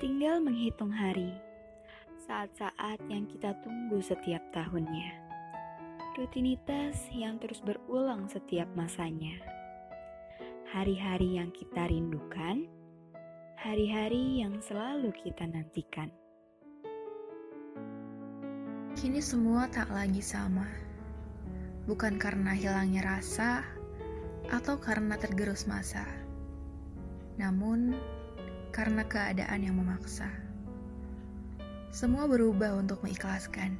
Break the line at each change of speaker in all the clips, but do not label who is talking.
Tinggal menghitung hari, saat-saat yang kita tunggu setiap tahunnya. Rutinitas yang terus berulang setiap masanya. Hari-hari yang kita rindukan, hari-hari yang selalu kita nantikan.
Kini semua tak lagi sama. Bukan karena hilangnya rasa atau karena tergerus masa. Namun, karena keadaan yang memaksa. Semua berubah untuk mengikhlaskan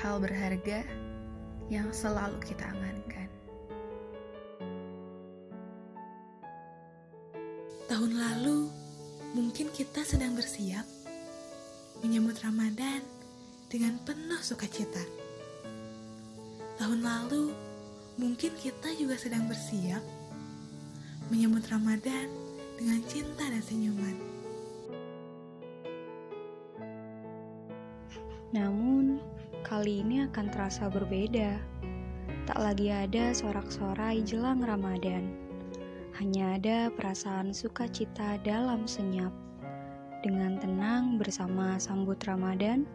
hal berharga yang selalu kita angankan.
Tahun lalu, mungkin kita sedang bersiap menyambut Ramadan dengan penuh sukacita. Tahun lalu, mungkin kita juga sedang bersiap menyambut Ramadan dengan cinta dan senyuman.
Namun, kali ini akan terasa berbeda. Tak lagi ada sorak-sorai jelang Ramadan. Hanya ada perasaan sukacita dalam senyap. Dengan tenang bersama sambut Ramadan,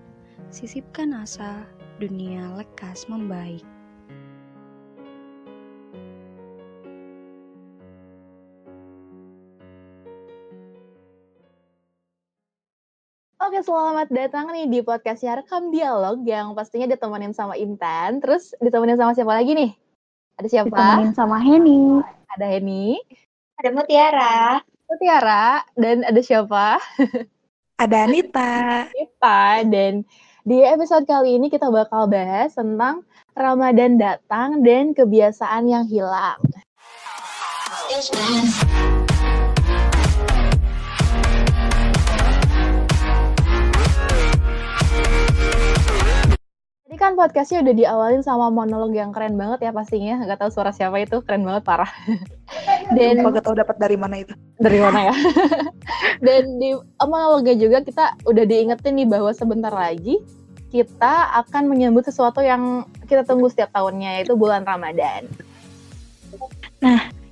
sisipkan asa dunia lekas membaik.
Oke, selamat datang nih di podcastnya Rekam Dialog yang pastinya ditemenin sama Intan. Terus ditemenin sama siapa lagi nih? Ada siapa?
Ditemenin sama Heni.
Ada Heni,
Ada Mutiara.
ada Tiara, dan ada siapa?
Ada Anita.
Kita. Dan di episode kali ini kita bakal bahas tentang Ramadan datang dan kebiasaan yang hilang. Tadi kan podcastnya udah diawalin sama monolog yang keren banget ya pastinya. Gak tahu suara siapa itu, keren banget parah. Dan
Kalau gak tau dapat dari mana itu.
dari mana ya? Dan di monolognya juga kita udah diingetin nih bahwa sebentar lagi kita akan menyambut sesuatu yang kita tunggu setiap tahunnya yaitu bulan Ramadan.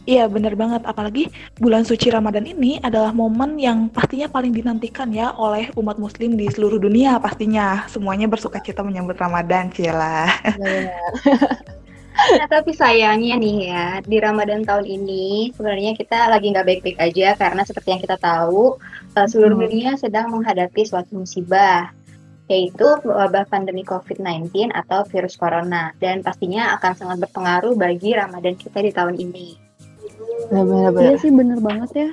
Iya bener banget, apalagi bulan suci Ramadan ini adalah momen yang pastinya paling dinantikan ya oleh umat muslim di seluruh dunia pastinya. Semuanya bersuka cita menyambut Ramadan, Cila.
Nah, tapi sayangnya nih ya, di Ramadan tahun ini sebenarnya kita lagi nggak baik-baik aja karena seperti yang kita tahu, eh, seluruh
Hmm.
dunia sedang menghadapi suatu musibah yaitu wabah pandemi COVID-19 atau virus corona dan pastinya akan sangat berpengaruh bagi Ramadan kita di tahun ini.
Iya sih bener banget ya.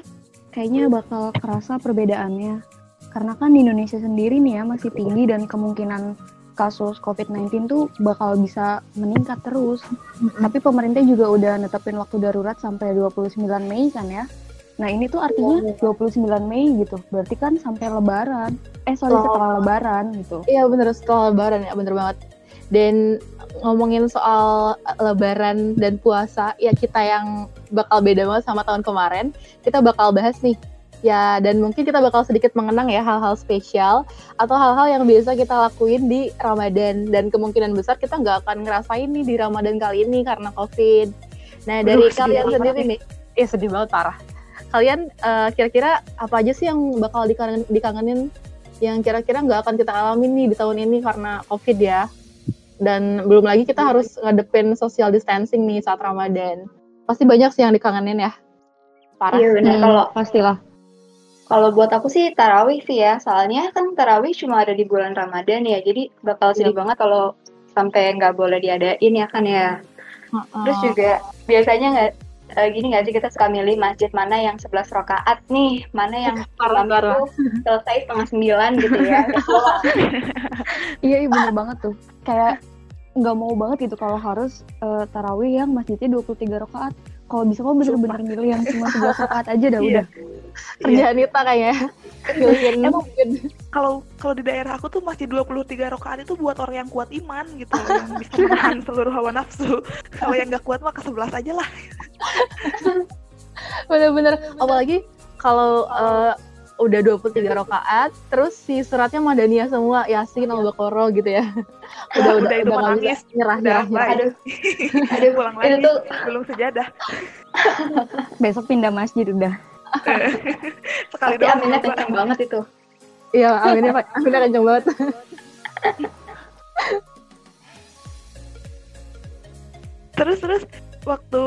Kayaknya bakal kerasa perbedaannya. Karena kan di Indonesia sendiri nih ya masih tinggi dan kemungkinan kasus COVID-19 tuh bakal bisa meningkat terus. Tapi pemerintah juga udah netepin waktu darurat sampai 29 Mei kan ya. Nah ini tuh artinya 29 Mei gitu. Berarti kan sampai lebaran. Eh sorry
Oh.
setelah lebaran gitu.
Iya bener setelah lebaran ya bener banget. Dan ngomongin soal lebaran dan puasa ya kita yang bakal beda banget sama tahun kemarin. Kita bakal bahas nih ya dan mungkin kita bakal sedikit mengenang ya hal-hal spesial atau hal-hal yang biasa kita lakuin di Ramadan dan kemungkinan besar kita nggak akan ngerasain nih di Ramadan kali ini karena COVID. Nah dari
Aduh, sedih
kalian
banget
sendiri nih, ya sedih banget parah. Kalian eh, kira-kira apa aja sih yang bakal dikangen- dikangenin yang kira-kira nggak akan kita alami nih di tahun ini karena COVID ya. Dan belum lagi kita harus ngedepin social distancing nih saat Ramadan. Pasti banyak sih yang dikangenin ya. Parah.
Iya benar
Hmm,
kalau
pastilah.
Kalau buat aku sih tarawih sih ya, soalnya kan tarawih cuma ada di bulan Ramadan ya, jadi
Iya.
bakal sedih banget kalau sampai nggak boleh diadain ya kan ya.
Hmm.
Terus
Oh.
ya,
juga biasanya nggak eh, gini nggak sih kita suka milih masjid mana yang 11 rokaat nih, mana yang
Parah,
imam itu selesai setengah sembilan gitu ya.
Iya, iya bener banget tuh. Kayak nggak mau banget gitu kalau harus eh, tarawih yang masjidnya 23 rakaat. Kalau bisa mah bener-bener milih yang cuma 11 rakaat aja dah
Iya.
udah.
Kerjaan kita kayaknya. Pilihin.
Emang kalau kalau di daerah aku tuh masih 23 rakaat itu buat orang yang kuat iman gitu yang bisa menahan seluruh hawa nafsu kalau yang nggak kuat mah ke sebelas aja lah
bener-bener. Apalagi kalau eh, udah 23 rakaat, terus si suratnya Madaniyah semua, Yasin, Al-Baqarah gitu ya. Udah, udah,
Udah itu
udah,
mah
nggak bisa.
nangis.
nyerah,
udah
nyerah, nyerah.
bye
Aduh.
aduh pulang
Itu
lagi
tuh-
belum sejadah
Besok pindah masjid udah.
Sekali
Tapi
doang.
aminnya
Mbak.
kencang banget itu.
Iya, aminnya Pak. Aminnya kenceng banget.
Terus terus waktu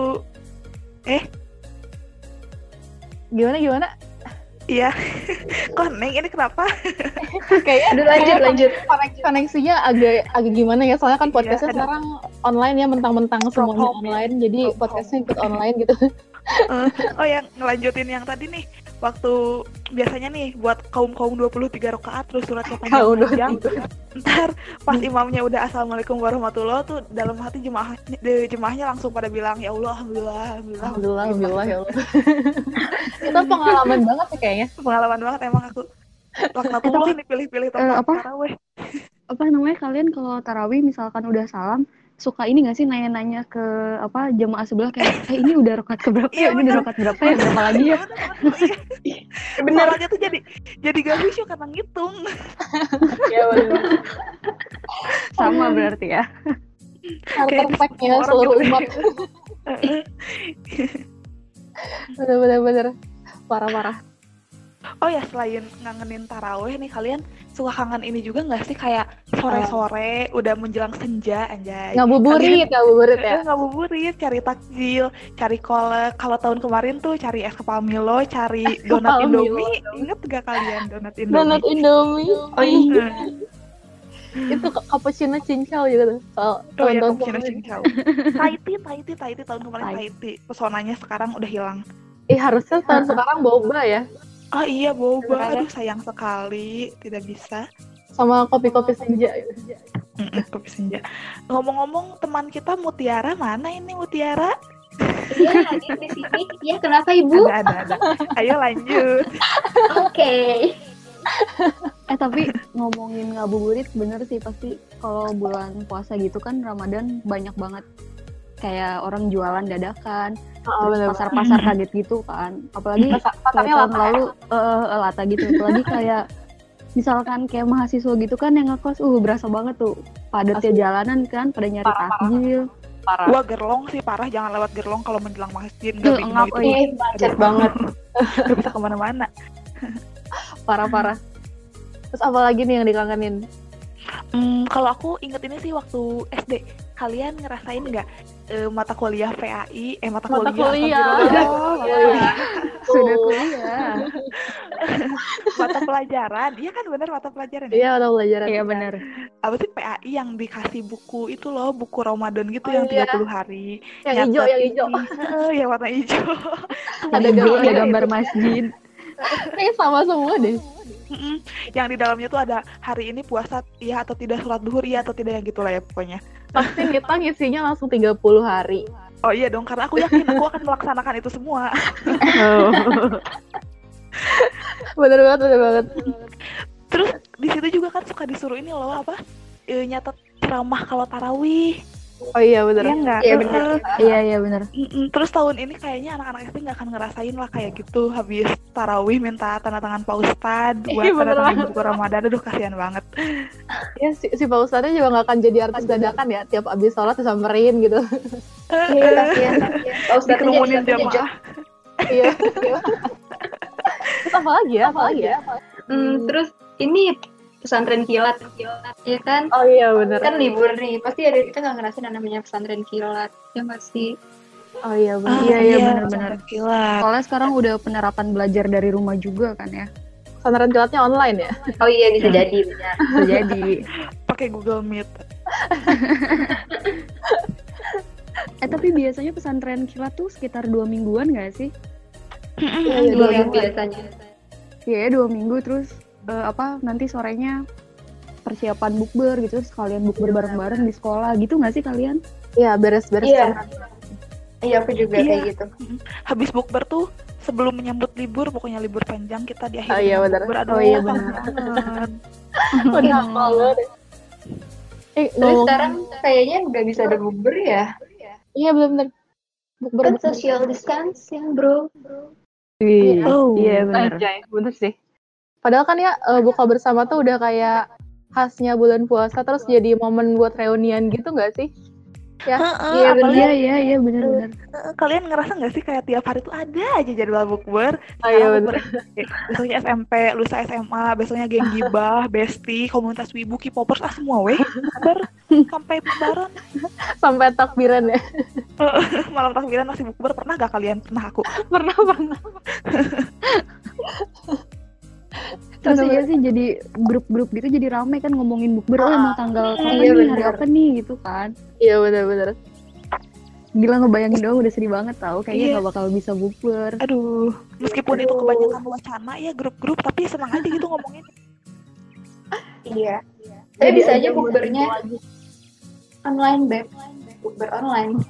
Gimana gimana?
iya koneng ini kenapa?
Kayaknya
Aduh lanjut
kayaknya
lanjut.
konek- koneksinya agak agak gimana ya? Soalnya kan podcastnya
Iya, ada-
sekarang online ya, mentang-mentang
From home,
semuanya
ya.
online. Jadi
From home.
podcastnya ikut online gitu.
Eh, oh yang ngelanjutin yang tadi nih waktu biasanya nih buat kaum kaum 23 rakaat terus suratnya panjang
Kaum
panjang ntar pas imamnya udah assalamualaikum warahmatullah tuh dalam hati jemaahnya de- jemaahnya langsung pada bilang ya allah alhamdulillah alhamdulillah
Alhamdulillah, alhamdulillah ya Allah. Itu pengalaman banget sih kayaknya.
pengalaman banget emang aku laknatullah nih pilih-pilih tempat
Eh, apa?
taraweh
apa namanya kalian kalau tarawih misalkan udah salam suka ini nggak sih nanya-nanya ke apa jemaah sebelah kayak eh ini udah rokat keberapa
Iya,
ya ini
bener.
udah rokat berapa ya berapa lagi ya
Bener.
Soalnya tuh jadi jadi gak lucu karena ngitung
Iya, benar.
sama berarti ya
Kayak
Artefaknya
orang
seluruh
gitu.
umat.
eh,
Bener-bener. Parah-parah.
Oh ya selain ngangenin taraweh nih kalian suka kangen ini juga nggak sih kayak sore-sore udah menjelang senja anjay.
Ngabuburit, ngabuburit ya.
Eh, ngabuburit, cari takjil, cari kolak. Kalau tahun kemarin tuh cari es kepal Milo, cari donat
kepal Milo.
Indomie. Ingat gak kalian donat Indomie?
Donat Indomie.
Oh iya.
Itu ka- cappuccino cincau gitu. tuh. Kalau
Oh iya,
tahun-tahun
kemungkinan
kemarin.
cincau. Taiti, Taiti, Taiti tahun kemarin Taiti. Pesonanya sekarang udah hilang.
Eh harusnya tahun sekarang boba ya.
Oh iya, boba.
Sebenarnya.
Aduh sayang sekali, tidak bisa.
Sama kopi-kopi senja.
Mm-mm, Kopi senja. Ngomong-ngomong, teman kita Mutiara mana ini Mutiara?
Iya hadir di sini. Iya kenapa
Ada,
ibu?
ada, ada. Ayo lanjut.
Oke.
eh tapi ngomongin ngabuburit bener sih pasti kalau bulan puasa gitu kan Ramadan banyak banget kayak orang jualan dadakan
Oh,
terus pasar-pasar kaget gitu kan apalagi kayak
Pasarnya
tahun
lama.
lalu eh, eh, lata gitu apalagi kayak misalkan kayak mahasiswa gitu kan yang ngekos uh berasa banget tuh padatnya
Asli.
jalanan kan pada nyari
Parah, parah.
takjil
Parah.
Wah gerlong sih parah, jangan lewat gerlong kalau menjelang masjid.
Duh,
Gak bingung
ngap,
itu.
eh.
Ih, macet banget.
Gak bisa kemana-mana.
Parah-parah. Terus apa lagi nih yang dikangenin?
Hmm, kalau aku inget ini sih waktu SD. Kalian ngerasain nggak eh, mata kuliah PAI? Eh mata,
Mata kuliah.
astagfirullah.
Iya.
sudah
Oh.
kuliah
mata pelajaran. Iya kan bener mata pelajaran. ya?
Iya, atau pelajaran.
iya bener
Apa sih PAI yang dikasih buku itu loh, buku Ramadan gitu
Oh,
yang
iya.
30 hari.
Yang hijau, yang hijau.
Heeh, yang warna hijau.
Ada
Ibu,
gambar,
ada gambar masjid
Kayaknya sama semua deh.
Mm-mm. yang di dalamnya tuh ada hari ini puasa iya atau tidak sholat duhur iya atau tidak yang gitulah ya pokoknya
Pasti kita ngisinya langsung 30 hari.
oh iya dong karena aku yakin aku akan melaksanakan itu semua
Bener banget, bener banget.
di situ juga kan suka disuruh ini loh apa e, nyatet ceramah kalau tarawih
Oh iya, bener.
Iya nggak?
Iya, bener.
Heeh.
iya iya bener
Mm-mm. terus tahun ini kayaknya anak-anak SD nggak akan ngerasain lah kayak gitu habis tarawih minta tanda tangan pak ustad buat
Iya, bener
tanda tangan
banget.
buku ramadan aduh kasihan banget
Ya, si, si Pak Ustadznya juga gak akan jadi artis dadakan ya. Tiap abis sholat disamperin gitu.
Iya kasihan. kasihan. Pak Ustadz aja
Eh, dikerumunin
jadi satu
jamaah
Iya. Terus apa lagi ya? Apa lagi ya?
Hmm, terus ini pesantren kilat, kilat, ya kan?
Oh iya, bener.
Kan libur nih, pasti ada kita nggak ngerasain yang namanya pesantren kilat, ya nggak sih?
Oh iya, bener.
Ah,
Iya, iya, bener-bener.
bener-bener gila
soalnya sekarang udah penerapan belajar dari rumah juga kan ya
Pesantren kilatnya online ya?
Oh iya bisa jadi. benar.
Bisa jadi
pakai Google Meet
eh tapi biasanya pesantren kilat tuh sekitar dua mingguan gak sih
Iya, iya,
Dua
iya.
yang biasanya.
Iya dua minggu terus eh, apa nanti sorenya persiapan bukber gitu terus kalian bukber bareng-bareng di sekolah gitu nggak sih kalian?
Iya, beres-beres.
Iya.
pesantren.
Iya aku juga
Iya.
kayak gitu.
habis bukber tuh sebelum menyambut libur pokoknya libur panjang kita di akhir
Oh iya, bener.
bukber aduh
Oh iya,
kangen
bener.
banget.
Udah hafal banget ya. Eh,
Terus
ngomong-
sekarang kayaknya nggak bisa ada bubur ya?
Iya, bener-bener. Bukber.
Kan social distancing bro.
Oh.
Iya
Anjay, ya? bener sih. Padahal kan ya eh, buka bersama tuh udah kayak khasnya bulan puasa terus jadi momen buat reunian gitu nggak sih? ya.
Heeh,
Iya,
apalagi-
Iya iya iya benar-benar.
Heeh, kalian ngerasa nggak sih kayak tiap hari tuh ada aja jadwal bukber
Oh,
Sekarang
iya,
bukber
bener.
eh, SD, besoknya SMP lusa SMA besoknya geng gibah besti komunitas wibu k-popers ah semua weh bukber sampai lebaran
Sampai takbiran ya.
malam takbiran masih bukber pernah gak kalian pernah aku
Pernah pernah.
Terus
Bener-bener.
iya sih jadi grup-grup gitu jadi rame kan ngomongin bukber oh
Ah,
mau tanggal kapan
iya,
nih, hari
bener.
apa nih gitu kan.
Iya benar-benar.
Gila ngebayangin doang udah sedih banget tau
Iya.
kayaknya nggak bakal bisa bukber.
aduh meskipun itu kebanyakan wacana ya grup-grup tapi senang aja gitu ngomongin
Iya. Tapi bisa aja bukbernya online, Beb. Bukber online.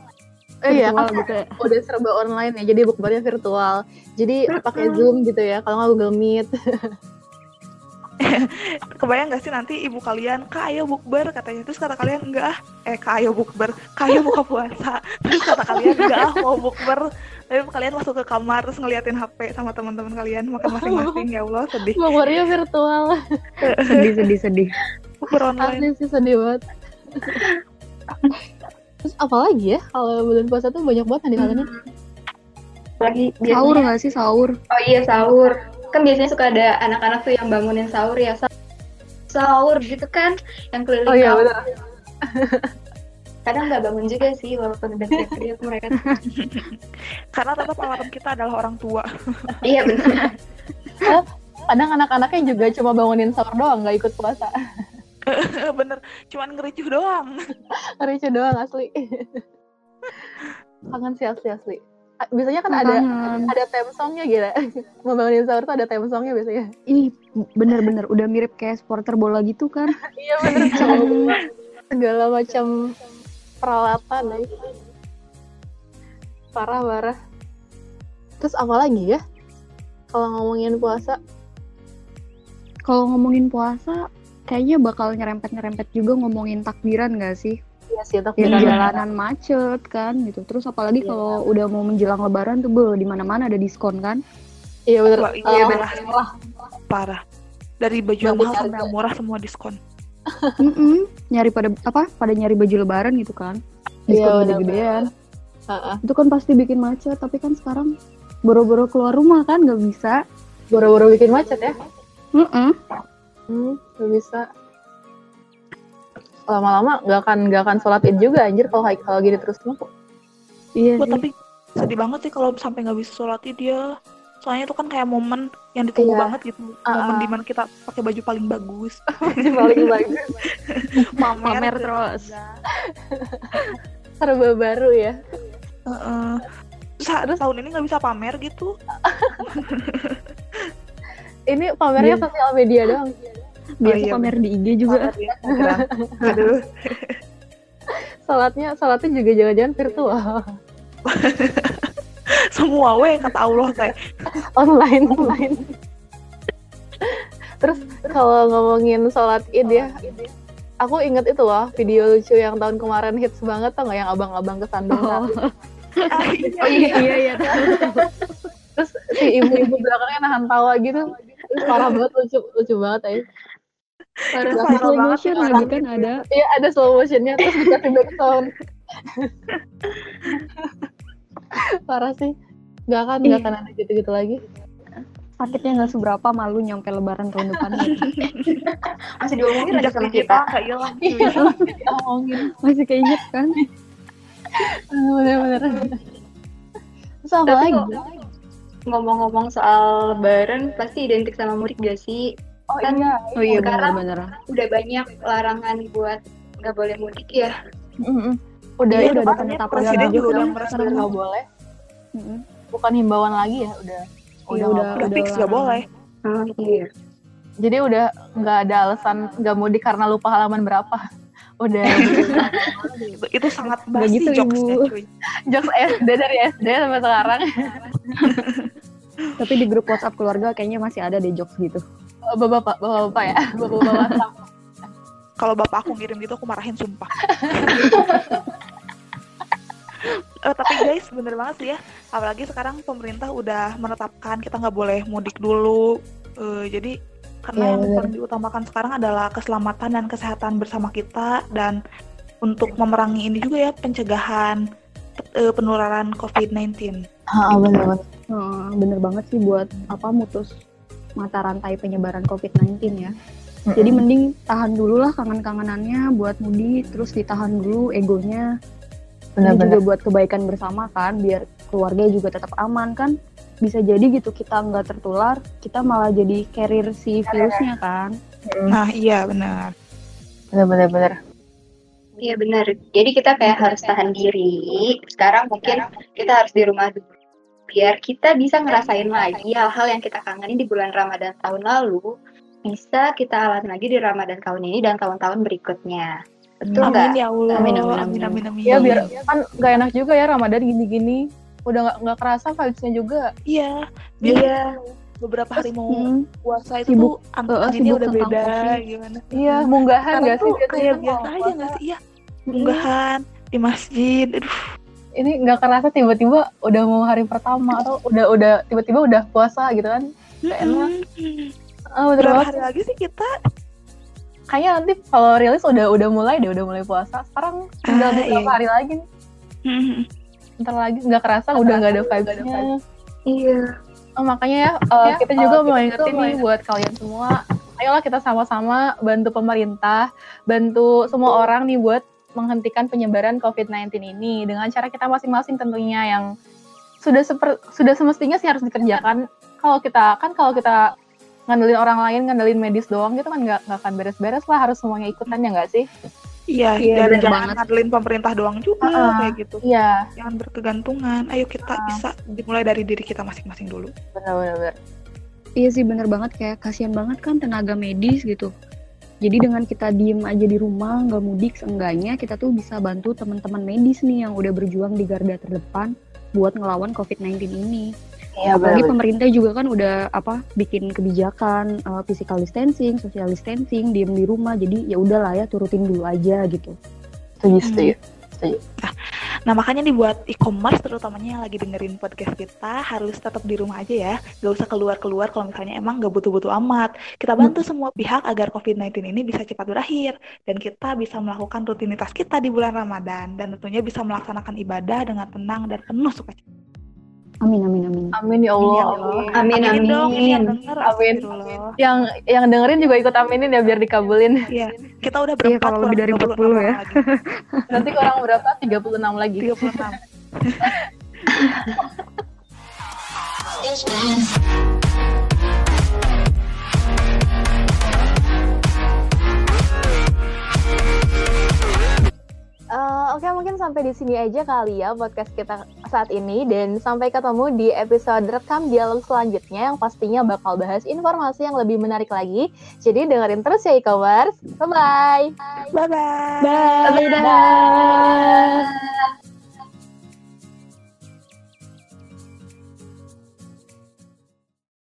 Eh, iya,
Virtual
kan
gitu ya.
udah serba online ya. Jadi bukbernya virtual. Jadi pakai Zoom gitu ya. Kalau nggak Google Meet.
kebayang gak sih nanti ibu kalian kak ayo bukber katanya terus kata kalian enggak ah eh kak ayo bukber kak ayo buka puasa terus kata kalian enggak ah mau bukber tapi kalian masuk ke kamar terus ngeliatin hp sama teman-teman kalian makan masing-masing ya allah sedih
Bukbernya virtual.
Sedih sedih sedih.
bukber online
Asli sih sedih banget. Terus apalagi ya kalau bulan puasa tuh banyak banget handilannya.
Lagi
Sahur
biasanya.
nggak sih sahur?
Oh iya, sahur. Kan biasanya suka ada anak-anak tuh yang bangunin sahur ya. Sa- Sahur gitu kan, yang keliling
Oh, iya,
kamar.
benar.
Kadang nggak bangun juga sih, walaupun udah teriak-teriak mereka.
karena tetap alarm kita adalah orang tua
iya, benar.
Mm-hmm. Kadang anak-anaknya juga cuma bangunin sahur doang, nggak ikut puasa.
bener cuman ngericuh doang
Ricu doang asli. Kangen sih asli asli. Ah, Biasanya kan ada
Kangen.
ada theme songnya gitu gila. Membangunin sahur tuh ada theme songnya biasanya.
Ih bener-bener udah mirip kayak supporter bola gitu kan.
Iya bener.
Cuma-
Segala macam peralatan. ay. Parah parah. Terus apa lagi ya? Kalau ngomongin puasa,
Kalau ngomongin puasa kayaknya bakal nyerempet-nyerempet juga ngomongin takbiran gak sih?
ya sih
ya
takbiran.
di jalanan macet kan gitu terus apalagi kalau udah mau menjelang lebaran tuh be di mana mana ada diskon kan
Iya bener.
Wah, iya,
Ah,
bener.
parah.
parah dari baju yang
Bagus
mahal sampai
harga.
yang murah semua diskon
Mm-mm. nyari pada apa pada nyari baju lebaran gitu kan
Iya,
diskon
bener-bener.
gede-gedean
Ah, ah.
itu kan pasti bikin macet tapi kan sekarang boro-boro keluar rumah kan nggak bisa
Boro-boro bikin macet ya.
Mm-mm.
Hmm, gak bisa. Lama-lama gak akan gak akan sholat id juga anjir kalau kalau gini terus mah.
iya
Wah,
sih
tapi sedih banget sih kalau sampai nggak bisa sholat id dia soalnya itu kan kayak momen yang ditunggu
Iya.
banget gitu
Ah,
momen
ah.
dimana kita pakai baju paling bagus gitu.
Paling bagus.
pamer,
Pamer terus.
Serba baru ya.
Heeh. Terus ha- tahun ini nggak bisa pamer gitu
Ini pamernya
Iya.
sosial media doang.
biasa
iya,
pamer di IG juga
Pamer ya, Instagram. aduh
Sholatnya sholatnya juga jangan-jangan virtual.
semua weh kata Allah teh
online online. Terus kalau ngomongin sholat id ya, aku inget itu loh video lucu yang tahun kemarin hits banget tau nggak yang abang-abang kesandung
Oh.
sapi.
Ah, iya.
Oh
iya iya
Terus si ibu-ibu belakangnya nahan tawa gitu. Terus parah banget lucu lucu banget eh. aja.
terus
parah
slow
banget
motion
sih
lagi
orang
kan
gitu.
ada
Iya ada slow motionnya terus dikasih background. parah sih. Gak akan gak akan ada gitu-gitu lagi.
sakitnya nggak seberapa malu nyampe lebaran tahun depan
Masih diomongin lagi
Jejak
sama
digital
kita.
nggak hilang gitu.
Iya, ngomongin.
masih keinget kan
Bener-bener. Terus apa
Tapi
lagi?
kalau- Ngomong-ngomong soal lebaran, pasti identik sama mudik gak sih?
Oh
kan-
iya.
oh iya
Sekarang-
bener-bener
Udah banyak larangan buat nggak boleh mudik ya.
Mm-mm. Udah
Iya,
udah
depannya
ada penetapan
presiden
dalam
juga udah
undang-undang
merasa-
nggak boleh.
Mm-mm.
Bukan himbauan lagi ya udah.
Iya,
nggak
udah.
udah fix nggak
larangan.
boleh
Oh, iya.
boleh. Jadi udah nggak ada alasan nggak mudik karena lupa halaman berapa. Udah
itu, itu sangat
Nggak
basi
gitu,
jokesnya
Ibu.
cuy
jokes SD dari SD sampai sekarang
Tapi di grup WhatsApp keluarga kayaknya masih ada deh jokes gitu.
bapak-bapak bapak-bapak ya bapak-bapak WhatsApp.
kalau bapak aku ngirim gitu aku marahin sumpah Eh, tapi guys bener banget sih ya apalagi sekarang pemerintah udah menetapkan kita nggak boleh mudik dulu Eh, jadi karena
Iya,
yang
bener.
paling diutamakan sekarang adalah keselamatan dan kesehatan bersama kita dan untuk memerangi ini juga ya pencegahan eh, penularan COVID-19.
Ah, benar-benar.
Heeh, bener banget sih buat apa mutus mata rantai penyebaran COVID-19 ya. Jadi mending tahan dulu lah kangen-kangenannya buat mudik, terus ditahan dulu egonya. Ini
benar-benar.
juga buat kebaikan bersama kan, biar keluarga juga tetap aman kan. Bisa jadi gitu kita nggak tertular, kita malah jadi carrier si virusnya kan.
Nah iya benar.
Benar-benar benar.
Iya benar. Jadi kita kayak harus tahan diri. Sekarang mungkin kita harus di rumah dulu. Biar kita bisa ngerasain lagi hal-hal yang kita kangenin di bulan Ramadan tahun lalu. Bisa kita alami lagi di Ramadan tahun ini dan tahun-tahun berikutnya. Betul nggak?
Amin ya Allah.
Amin, amin, amin.
amin, amin.
Ya biar kan nggak enak juga ya Ramadan gini-gini. Udah nggak nggak kerasa vibes-nya juga.
Iya. Biar
Iya.
beberapa hari mau
Hmm,
puasa itu
Sibuk.
tuh angka
Eh,
ini
sibuk
udah
tentang
beda
COVID.
gimana?
Iya, munggahan
Sekarang
nggak sih?
tuh kayak
kan
biasa
kalau
aja
puasa.
nggak sih? Iya. Unggahan di masjid. Aduh.
Ini nggak kerasa tiba-tiba udah mau hari pertama atau udah udah tiba-tiba udah puasa gitu kan? enak.
Mm-mm.
Ah, bener
Berapa
banget.
hari lagi sih kita?
Kayaknya nanti kalau rilis udah udah mulai deh, udah mulai puasa. Sekarang tinggal
Ah,
beberapa
iya.
hari lagi nih.
Mm-mm.
Ntar lagi nggak kerasa udah nggak ada vibes-nya.
Iya.
Oh, makanya ya, eh, kita juga mau ingetin nih buat kalian semua. Ayolah kita sama-sama bantu pemerintah, bantu semua orang nih buat menghentikan penyebaran COVID-19 ini dengan cara kita masing-masing tentunya yang sudah seper- sudah semestinya sih harus dikerjakan. Kalau kita kan kalau kita ngandelin orang lain, ngandelin medis doang gitu kan nggak nggak akan beres-beres lah harus semuanya ikutan ya nggak sih?
Iya,
Iya,
dan
bener
jangan
banget.
ngadelin pemerintah doang juga
Ah, ah.
kayak gitu.
Iya,
Jangan berkegantungan. Ayo kita bisa dimulai dari diri kita masing-masing dulu.
benar-benar.
Iya sih bener banget kayak kasihan banget kan tenaga medis gitu. Jadi dengan kita diem aja di rumah, nggak mudik, seenggaknya kita tuh bisa bantu teman-teman medis nih yang udah berjuang di garda terdepan buat ngelawan COVID-19 ini.
Iya,
Apalagi pemerintah juga kan udah apa bikin kebijakan eh, physical distancing, social distancing, diem di rumah. Jadi ya udahlah ya turutin dulu aja gitu.
Setuju,
setuju, Nah, makanya dibuat e-commerce terutamanya yang lagi dengerin podcast kita harus tetap di rumah aja ya. Gak usah keluar-keluar kalau misalnya emang gak butuh-butuh amat. Kita bantu semua pihak agar COVID-19 ini bisa cepat berakhir dan kita bisa melakukan rutinitas kita di bulan Ramadan dan tentunya bisa melaksanakan ibadah dengan tenang dan penuh sukacita.
Amin amin amin.
Amin ya
Amin
Allah.
ya Allah.
Amin,
Aminin dong, ini yang
amin.
denger,
Amin.
astagfirullah.
Yang yang dengerin juga ikut aminin ya biar dikabulin.
Iya, Kita udah berempat
kalau lebih
kurang 36
dari 40 ya.
orang lagi.
Nanti kurang berapa? 36 lagi.
36.
Eh, Oke, mungkin sampai di sini aja kali ya podcast kita saat ini dan sampai ketemu di episode rekam dialog selanjutnya yang pastinya bakal bahas informasi yang lebih menarik lagi. Jadi dengerin terus ya e-commerce. Bye-bye.
Bye-bye.
Bye.